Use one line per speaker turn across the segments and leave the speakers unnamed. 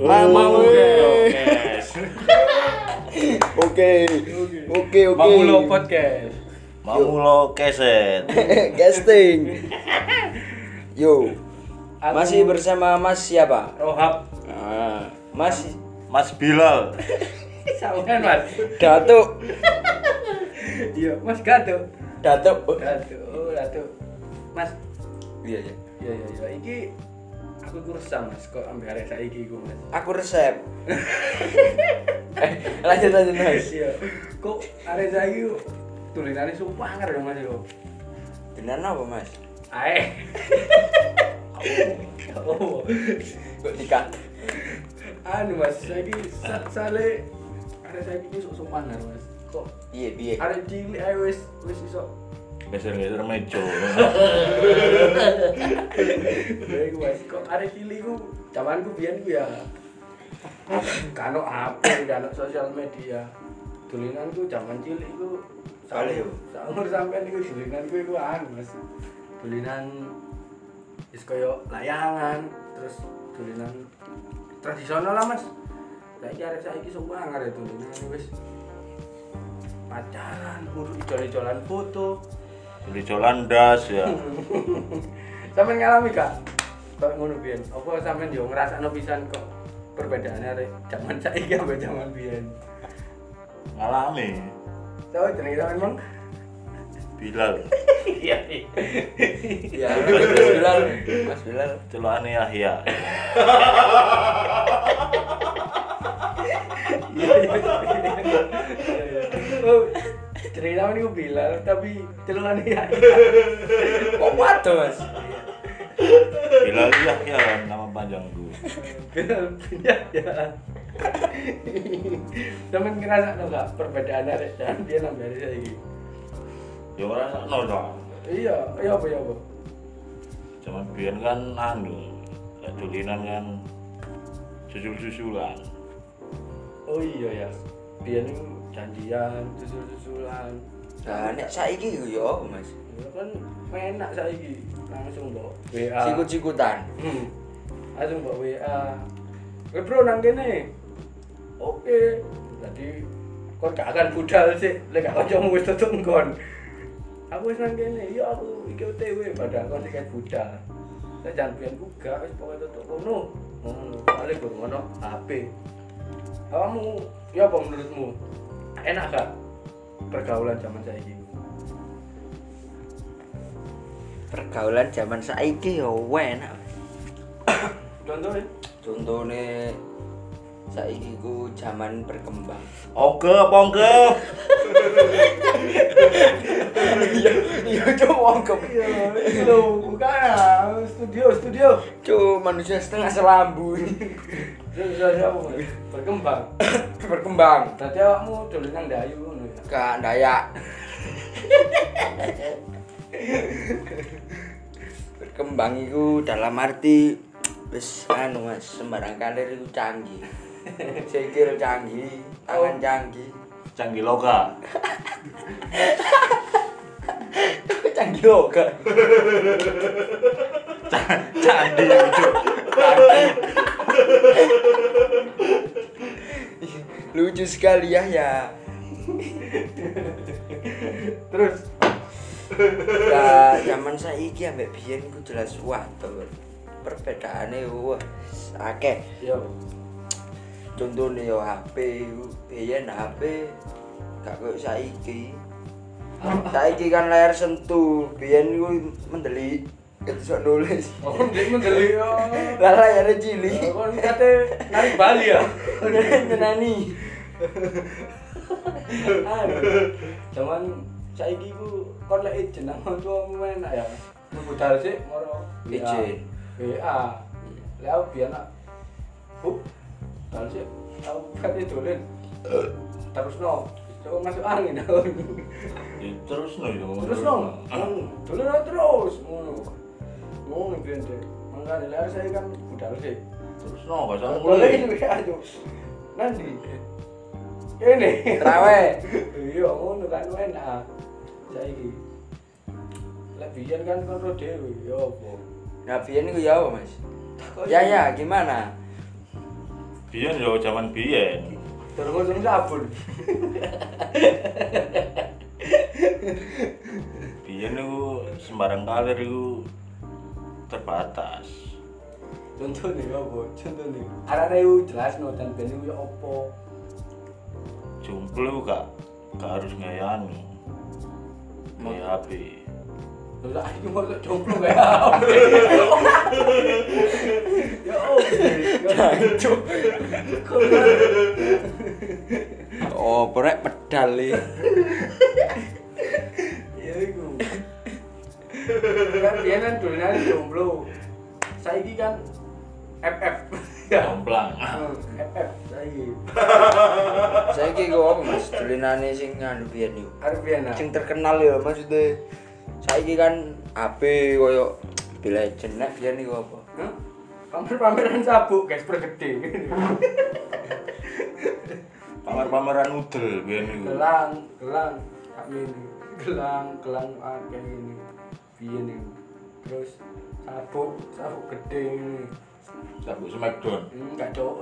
Mamu.
Oke,
Oke. Oke, oke.
Bang Ulo Podcast.
Mamulo keset.
Casting. Yo.
Aku-
Masih bersama Mas siapa?
Rohab.
Ah, Mas
Mas Bilal.
Sawan Mas.
Datuk,
Iya, Mas Gato.
Datuk.
Gato, oh, Gato. Mas.
Iya iya.
Iya, iya, iya. Iki aku kursa Mas kok ambil arek saiki iku Mas.
Aku resep. eh, lanjut lanjut Mas.
Iya. Kok arek saiki ku tulisannya sumpah dong Mas yo.
Benar apa Mas?
Ae. Oh.
Kok dikat?
Anu Mas, saiki sa- sale arek saiki ku sok sopan lah, Mas. Kok
Iya iya.
arek cilik ae wis wis iso
Geser-geser meja.
Ya, iku, Mas. kok ada cilik ku zaman ku biyen ku ya kano HP kano sosial media tulinan ku zaman cilik ku
Kali, yo.
saumur sampean iku tulinan ku iku anu Mas tulinan wis koyo layangan terus tulinan tradisional lah Mas saiki arek saiki semua ngarep tulinan wis pacaran urut ijol-ijolan foto
Beli jalan das ya.
Sampeyan ngalami gak? Kok ngono biyen. Apa sampeyan yo ngrasakno pisan kok perbedaannya arek zaman saiki ambek zaman biyen.
Ngalami.
Tahu jenenge sampeyan Mang?
Bilal.
Iya.
Iya, Mas Bilal. Mas Bilal.
Celokane Yahya.
Oh, Jenenge sampeyan iku Bilal tapi celukane ya.
Kok waduh Mas?
Bilal Yahya kan nama panjangku.
Bilal ya. Sampeyan ngrasakno gak perbedaannya arek zaman biyen ambek arek saiki?
Ya ora sakno dong.
Iya, iya apa ya apa?
Zaman biyen kan anu, lek dolinan kan susul-susulan.
Oh iya ya. Biyen iku janjian, susul-susulan.
Nah, nek saiki ku yo apa Mas?
Ya kan enak saiki langsung mbok WA.
Sikut-sikutan.
Hmm. Langsung mbok WA. Eh bro nang kene. Oke. Jadi kon gak akan budal sih, lek gak kancamu wis tutup kon. Aku wis nang kene, yo aku iki OTW padahal kon sik kayak budal. Saya jangan pian ku gak wis pokoke tutup kono. Ngono, kali gue ngono HP. Kamu, ya apa menurutmu? Enak gak pergaulan zaman saiki?
Pergaulan zaman saiki yo enak. Mas.
Contohnya
Contohnya saiki ku zaman berkembang.
Oke, pongke.
Iya, cowok kok.
Iya, itu bukan ah. studio, studio.
Cuk, manusia setengah selambu
Terus terus apa? Mas? Berkembang.
berkembang.
Tadi awakmu dolen nang Dayu ngono ya.
Kak Daya berkembang itu dalam arti wis anu Mas, sembarang kalir itu canggih. Sikil canggih, tangan
Oh.
canggih.
Canggih loka.
canggih loh Kak.
Candi ujuk.
Lucu sekali ya ya.
Terus
Nah, zaman saiki ambek biyen ku jelas waduh. Perbedaannya wah akeh.
ya
contohnya yo HP iku. biyen HP gak koyo saiki saiki kan layar sentuh biyen ku mendelik ketusuk nulis
Oh, ndek mendeli yo.
lah layarnya cilik
Kon kate nari Bali ya.
nyenani
Aduh. Cuman saiki ku kon lek ijen nang tuamu enak ya. Ngebudal sik moro WA.
Ijen.
WA. Lek aku biyen nak Bu, budal sik aku kate dolen. Terus no, coba masuk angin aku.
Ya, Terus no itu.
Oh, terus dong dulu lah terus ngono ngono biar deh makanya lah saya kan budal sih
Terus no, gak usah
boleh
mulai.
ini bisa aja nanti ini
Trawe.
iya ngono kan ah. enak saya ini lebihan kan kan lo dewi ya apa
nah biyen ku ya apa mas
Takut
ya
ini.
ya gimana
biyen yo zaman biyen.
Terus ngusung sabun.
Biyen niku sembarang kalir iku terbatas.
Contohnya apa? Contohnya. Arane itu jelas no dan ben itu ya apa?
Jumpul iku gak gak harus ngayani. Mau HP.
Terus aku mau jomblo kayak apa? Ya oke.
Oh, porek pedal e. iki.
Ya iku. Kan biyen kan dolanan jomblo. Saiki kan FF. Ya.
Jomplang.
Hmm, FF saiki.
Saiki kok apa Mas? Dolinane sing nganu biyen iku.
Arep biyen ah.
Sing terkenal ya maksudnya. Saiki kan HP koyo Mobile Legends nek biyen iku apa?
Hah? Pamer-pameran sabuk, guys, pergede.
Pamer-pameran udel biyen iku.
gelang, gelang, kami ini. Gelang, gelang ah, akeh ini. Biyen ini. Terus sabuk, sabuk gede Hmm, ini.
Sabuk Smackdown.
Enggak cok.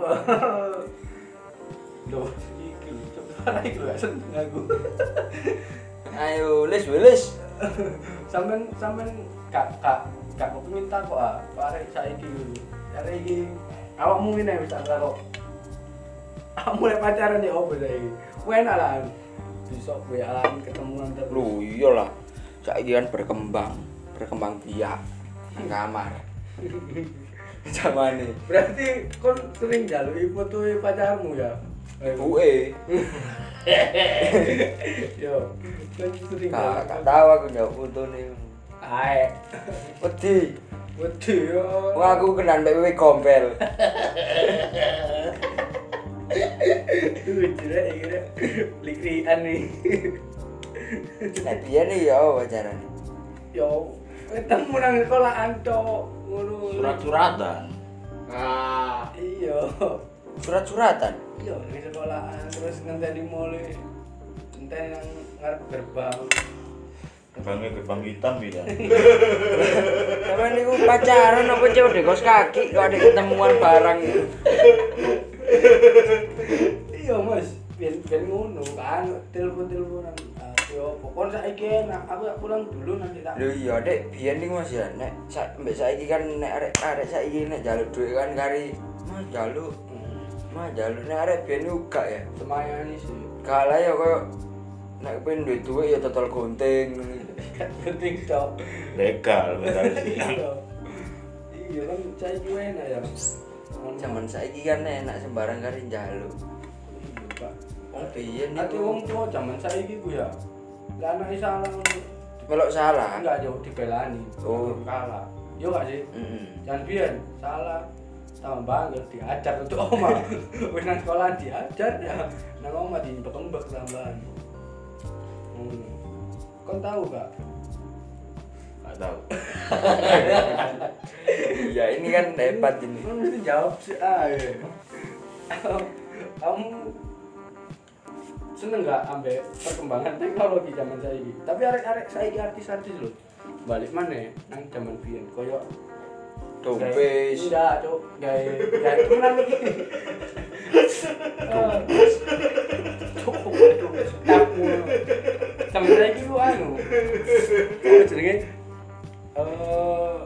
Loh, iki lho, cok. Parah iki lho, gak seneng aku.
Ayo, lis wis.
Sampeyan sampeyan gak gak gak mau minta kok ah. Kok arek saiki lho. Arek iki awakmu ngene wis tak kok. Aku mulai pacaran ya opo saiki. Kuwi enak lah. Besok kuwi alam ketemuan terus.
Lu iyalah. Saiki kan berkembang, berkembang biak nang kamar. Zamane.
Berarti kon sering jaluki foto pacarmu ya? Eh,
Buke.
Yo, kon sering
Gak gak
jaluki.
tahu aku njawab fotonya.
Ae,
Wedi.
wedi yo.
Wong aku kenan mbek wewe gombel.
Lucu rek iki rek. Likrian nih.
Lah biyen iki ya apa carane?
Yo, ketemu nang sekolahan cok ngono.
Surat-suratan.
Ah, iya.
Surat-suratan.
Iya, di sekolahan terus ngenteni mole. Ngenteni nang ngarep gerbang.
Gerbangnya gerbang hitam biyen.
Sampeyan niku pacaran apa cewek di kos kaki kok ada ketemuan barang.
iya mas ben ben ngono kan telepon teleponan yo pokon saiki enak aku tak pulang dulu nanti tak
Lho iya Dek, biyen niku Mas ya nek sa- mbek saiki kan nek arek arek saiki nek njaluk duit kan kari mah njaluk, mah njaluk nek arek biyen niku gak ya.
Hmm, semayani sih
Gak lah ya koyo nek pengen duit duit ya total gunting.
penting tau
Legal benar sih.
iya kan saiki enak ya
Zaman saiki kan enak sembarang kari njaluk.
Iya, Pak.
Wong biyen
Nanti wong
niku
tua zaman saiki ku ya lah anak salah ngono.
melok salah.
enggak jauh dibelani
Oh.
kalah yo gak sih
Heeh.
jangan biar salah tambah ya diajar untuk oma wis nang sekolah diajar ya nang oma di bekembek tambahan hmm. kon tahu gak
Gak tahu.
Iya, ini kan hebat ini.
kon mesti jawab sih ah ya. kamu seneng gak ambek perkembangan teknologi zaman saiki tapi arek-arek saiki artis-artis lho balik mana nang zaman biyen koyo
Dompes.
Enggak, cok. Gay. Gay. Cuman lagi. Cok. Tapu. Sampai lagi lu anu. Apa jenenge? Eh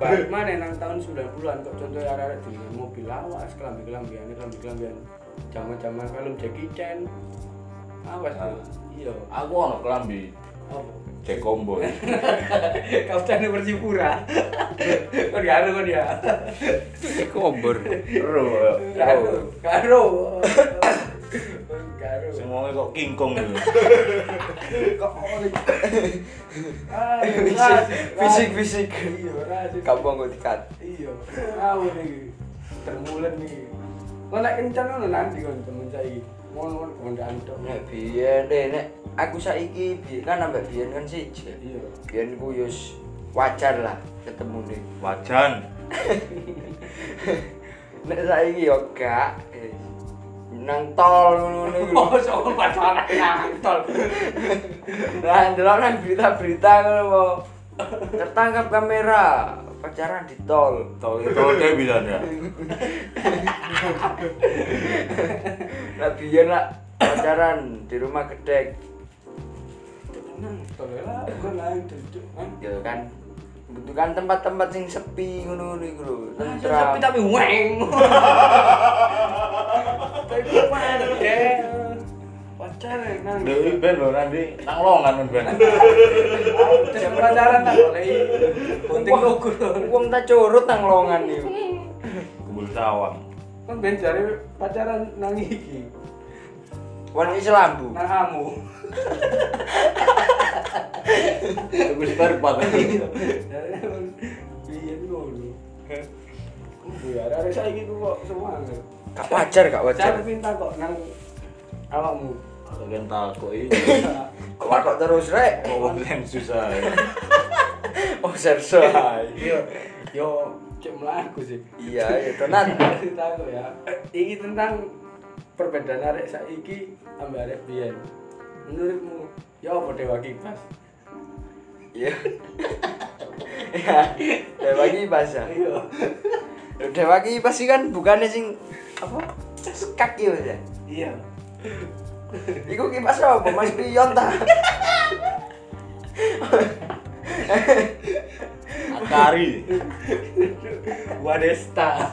Balik mana nang tahun 90-an kok contoh arek-arek di mobil lawas, kelambi-kelambian, kelambi-kelambian. Zaman-zaman film Jackie Chan. Awas lu. Iya.
Aku ono kelambi
Apa?
cek komboy.
Kapten Persipura. Kon gak ada kon ya.
Kober.
Ero.
Karo. Karo. Karo.
Semuanya kok kingkong gitu.
Kok oli. Ah,
Fisik,
ras-
fisik,
ras.
fisik.
Iya, rasis.
Kampung gue dikat.
Iya. Tahu iki. Termulen iki. Kok nek kencan ngono nanti kon temen saiki. Ngono kon gondaan tok.
Nek biyen deh, nek aku saiki biyen kan ambek biyen kan siji.
Iya.
Biyen ku yus wajar lah ketemu nih.
Wajan.
Nek saiki yo gak eh, nang tol ngono
Oh,
ngono.
sok pacaran nang tol.
Nah, ndelok nang berita-berita ngono po. tertangkap kamera pacaran di tol
Tol itu dia bilang ya.
lah biyen lah pacaran di rumah gedek
tenang tolonglah bukan lain tuh kan
gitu kan butuhkan tempat-tempat sing sepi ngono-ngono iku lho
tapi
tentram
Ah, tapi weng tapi kuat deh pacar nang
Dewi ben lho nanti nang longan ben.
Jangan pacaran tak boleh penting ukur
wong tak curut nang longan iku
Kumpul sawang.
kan ben jare pacaran nang iki
wong iki selambu
nang amu
Kumpul perpat.
jare kan piye iku lho Kuwi arek saiki ku kok semangat.
gak wajar gak wajar
Saya minta kok nang awakmu.
Aku kan takut ini.
kok kok terus rek
Kok wong yang susah. ya?
oh serso
Yo yo cek mlaku sih.
iya ya tenan
cerita aku ya ini tentang perbedaan arek saiki ambek arek biyen menurutmu ya apa dewa kipas
iya ya dewa kipas ya
iya
dewa kipas sih kan bukannya sing apa skak gitu ya
iya
iku kipas apa mas pion ta
Akari.
wadesta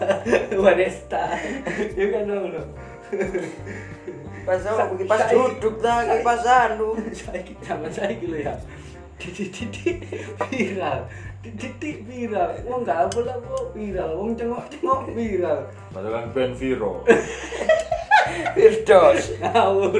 wadesta ya kan dong lo
kipas apa kipas duduk ta kipas anu
saiki zaman saiki lo ya titik-titik viral titik-titik viral wong gak apa lah kok viral wong cengok-cengok viral
Padahal kan ben Viro.
Firdos
ngawur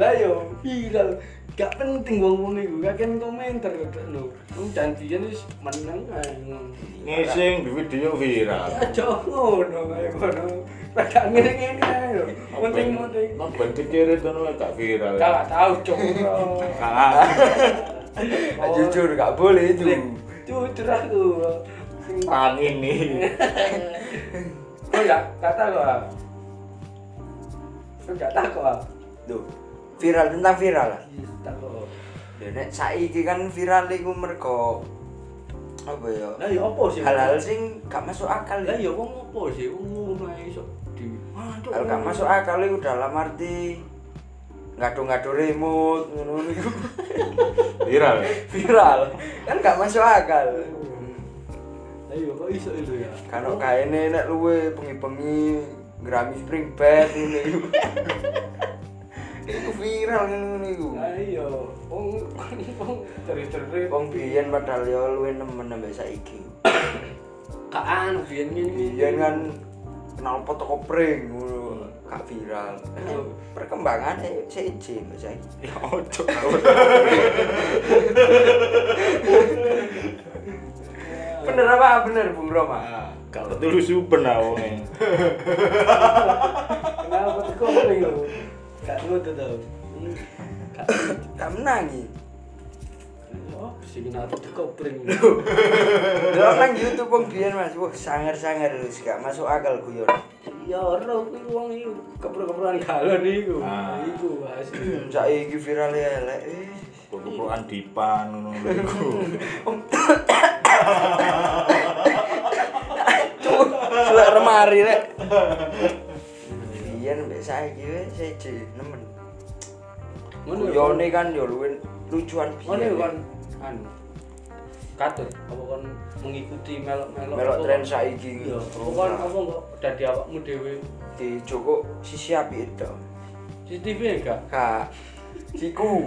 lah yo viral gak penting wong wong iku gak kan komentar kok no wong janjian wis meneng ae ngono
Ngising di video viral.
aja ngono kaya ngono padahal ngene ngene ae lho penting penting
Nang ben kecil itu no gak viral.
gak tau cok
Kalah.
Oh.
Nah, jujur gak boleh itu
jujur aku sing
Perang ini.
oh ya kata kok ah. Kok gak takut ah
Tuh, viral tentang viral lah
takut
Ya, nek saiki kan viral iku mergo apa ya
lah ya apa sih
hal-hal sing gak masuk akal
lah
ya
ya wong apa sih wong ngono ae iso di Ah, Cuk,
hal gak
ngono.
masuk akal iku dalam arti ngadu-ngadu remote ngono iku
Viral.
viral kan gak masuk akal
Ayo kok iso itu ya?
kalau kaene nek luwe bengi-bengi ngerami spring bed ngono iku iku viral ngono iku
Ayo, wong wong ceri-ceri
wong biyen padahal ya luwe nemen ambek saiki
kaan biyen ngene.
Biyen kan kenal foto kopring ngono, gak viral. Perkembangan eh seiji Mbak Zai.
Ya ojo.
Bener apa bener Bung Roma?
Ah, Kalau tulu super nah wongnya.
Kenapa tuh kok ngene lho? Gak ngono to. Hmm. Gak
Gak menangi.
apa sih kenapa tuh kok pring.
Delok nang YouTube wong biyen Mas, wah sangar-sangar lu gak masuk akal guyon.
Ya ora kuwi wong iku kepro-keproan galon iku.
Ah.
Iku asli.
Saiki viral ya elek. eh.
Kumpul-kumpulan dipan ngono lho iku.
Cuk, selek remari rek. Biyen mbek saiki wis seiji nemen.
Ngono ya,
Guyone kan yo luwin lucuan
Ngono ya, kon
biyen.
anu. Katut apa kon mengikuti melok-melok
Melok
apa
tren
kon-
saiki.
Iya, apa kon apa kok dadi awakmu dhewe?
Di Joko sisi api itu.
CCTV enggak?
Kak, siku.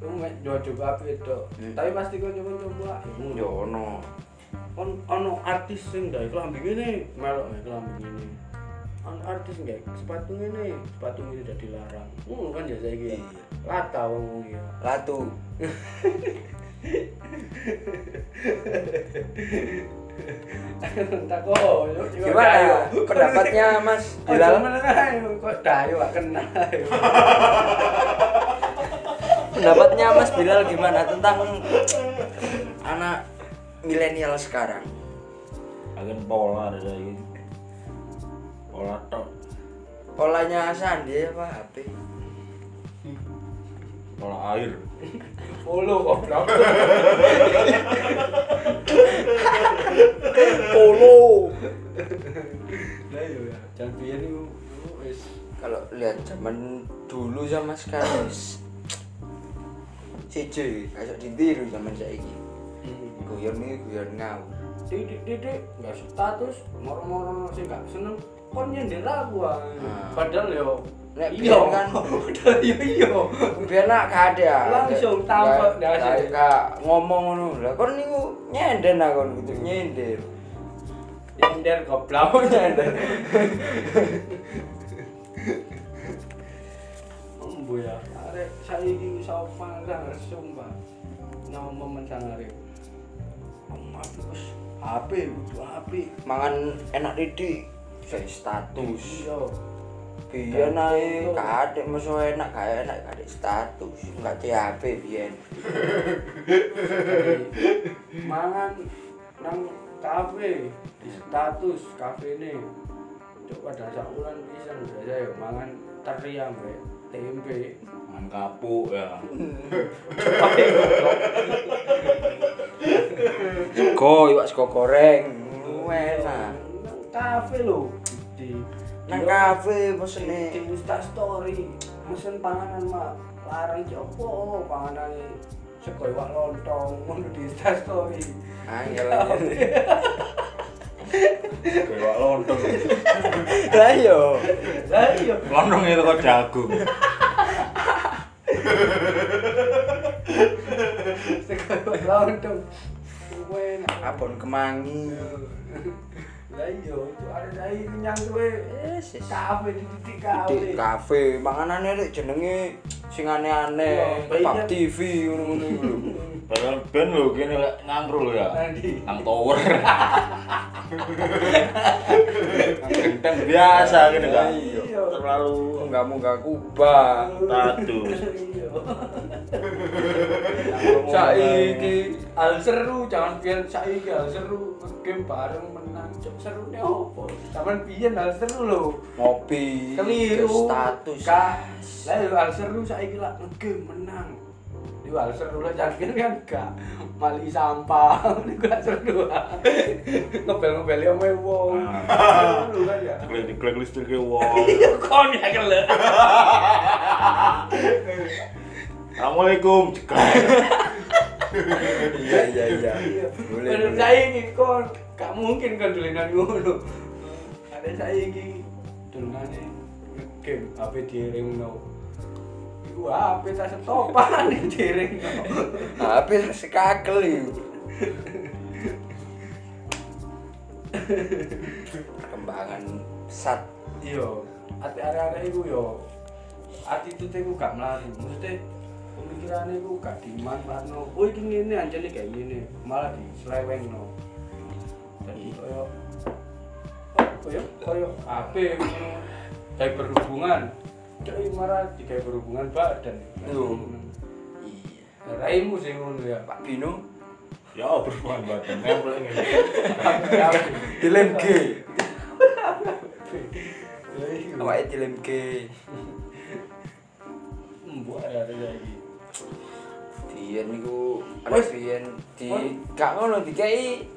Kamu main dua coba apa itu? Tapi pasti kau coba coba.
Yo ono.
Kon ono artis sing dari kelambi ini, melok ya kelambi ini. Ono artis enggak sepatu ini, sepatu ini udah dilarang. Hmm kan ya saya gitu.
Iya.
Lata wong ya.
Latu.
Tak kok. yo, yo, dayo.
Gimana pendapatnya Mas
Oh, Bilal
Bilal?
mana ayo kok dayo gak kena. ayo.
Pendapatnya Mas Bilal gimana tentang anak milenial sekarang?
Agen pola ada lagi. Pola tok.
Polanya Sandi apa HP?
Tolak air.
Polo goblok.
Polo.
Lah yo ya. Jan biyen iku iku wis
kalau lihat zaman dulu sama sekarang wis CJ kayak ditiru zaman saiki guyon iki guyon ngau
titik titik nggak status moro-moro sih nggak seneng kon nyender aku ae.
Ah.
padahal yo
Nek
iya
biyen
kan
kan-
padahal yo iya
biar nak kada
Langsung tampak dah sini.
kak ngomong ngono lah kon niku nyender nah kon gitu nyender
nyender goblok nyender Embo ya, arek saiki sopan langsung, Pak. Nang momen sang arek. Amat terus HP, kudu HP.
mangan enak didik saya status
Iya.
biar naik kada meso enak gak enak kada status nggak THP biar
mangan nang kafe di status kafe ini coba ada sakulan pisang biasa ya mangan teri ambe tempe
Makan kapuk ya.
sego iwak sego goreng Ngono enak
nang kafe lo di
nang
di-
kafe
di di
pesene
Insta story mesen panganan mak larang jopo panganan sekoi wak lontong mau di Insta story
angel
Kayak lontong.
lah yo
lah iya
Lontong itu kok jagung.
sekoi wak lontong Wih, enak.
abon kemangi
lah iya itu ada dari kenyang gue
Yes, yes.
kafe di titik
di
kafe
kafe manganane rek jenenge sing aneh-aneh
Yo,
pub
banyak.
TV ngono-ngono iku lho
Padahal ben lho gini lek ngangkru lho ya.
Nanti.
Nang tower. Nang genteng biasa gini kan.
Iya.
Terlalu
enggak mau enggak kuba
status.
Iya.
saiki
hal seru jangan biar saiki hal seru game bareng menang jam seru nih apa zaman biyen hal seru lo
ngopi
keliru
terus Iya, status
Gak. lah iya, hal seru saiki lah game menang itu hal seru lah jangan biar kan gak mali sampah itu gak seru ah. ngebel-ngebeli sama wong seru kan ya
Diklek-diklek listrik ke wong.
kon ya kele
Assalamualaikum. Ceklek.
iya iya iya boleh
Menurut
boleh.
saya ini kon gak mungkin kan dolenan ngono. Ada saya ini dolengane game HP diringno. Iku HP tak setopan diringno.
HP sekakel iku perkembangan sat
Iya, ati arek-arek iku yo attitude iku gak mlaku. Maksudnya pemikirannya iku gak dimanfaatno. Oh iki ngene anjene kayak ngene, malah diselewengno. Jadi koyo koyo koyo HP ngono. kayak berhubungan. Jadi marah kayak berhubungan badan.
Yo. iya
Raimu sih ngono ya,
Pak
Pak.
Bino
Ya berbuat badan nempel ngene.
dilem G
Ya iya.
awake dilem G
Mbok ada lagi.
Biyen niku ada
Wes.
biyen di
Wes.
gak ngono dikai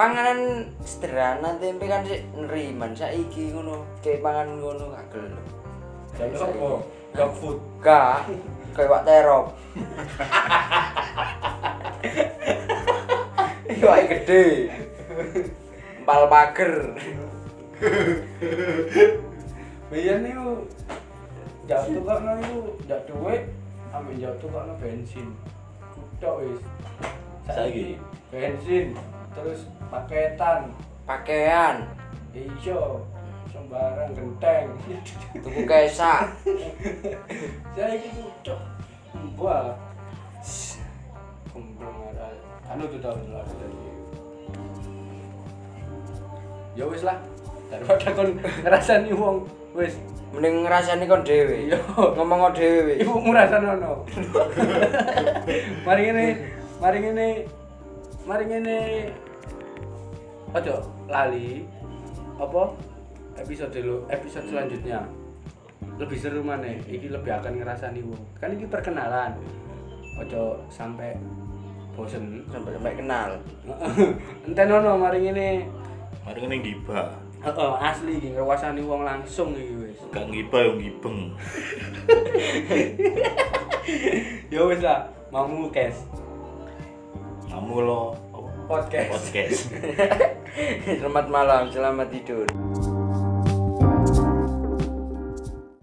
panganan sederhana tempe kan sik neriman saiki ngono kayak pangan ngono gak gelem.
Jadi apa? Gak food.
Gak kayak wak terop. Iya wae gede. Empal pager.
Biyen niku jak tukokno niku jak dhuwit ambek jak tukokno bensin. Tok wis.
Saiki?
bensin terus paketan
Pakaian,
ijo sembarang genteng.
tuku kesak.
Saiki ku tok. Mbah. Kembang ada. Anu tuh tahun lalu tadi. Ya wis lah. Daripada kon ngerasani wong wis
Mending ngrasani kon dhewe.
Iya.
Ngomong kon dhewe.
Ibu merasa nono. mari ini, mari ini, mari ini. Ojo lali. Apa? Episode dulu, episode selanjutnya. lebih seru mana iki lebih akan ngerasani wong kan iki perkenalan ojo sampai bosen
sampai sampai kenal
enten ono mari ngene
Mari ngene ngibah.
heeh asli iki ngrasani wong langsung iki wis
Gak ngibah yo ngibeng.
ya wis lah mau kes
Kamu lo apa?
podcast
podcast.
selamat malam selamat tidur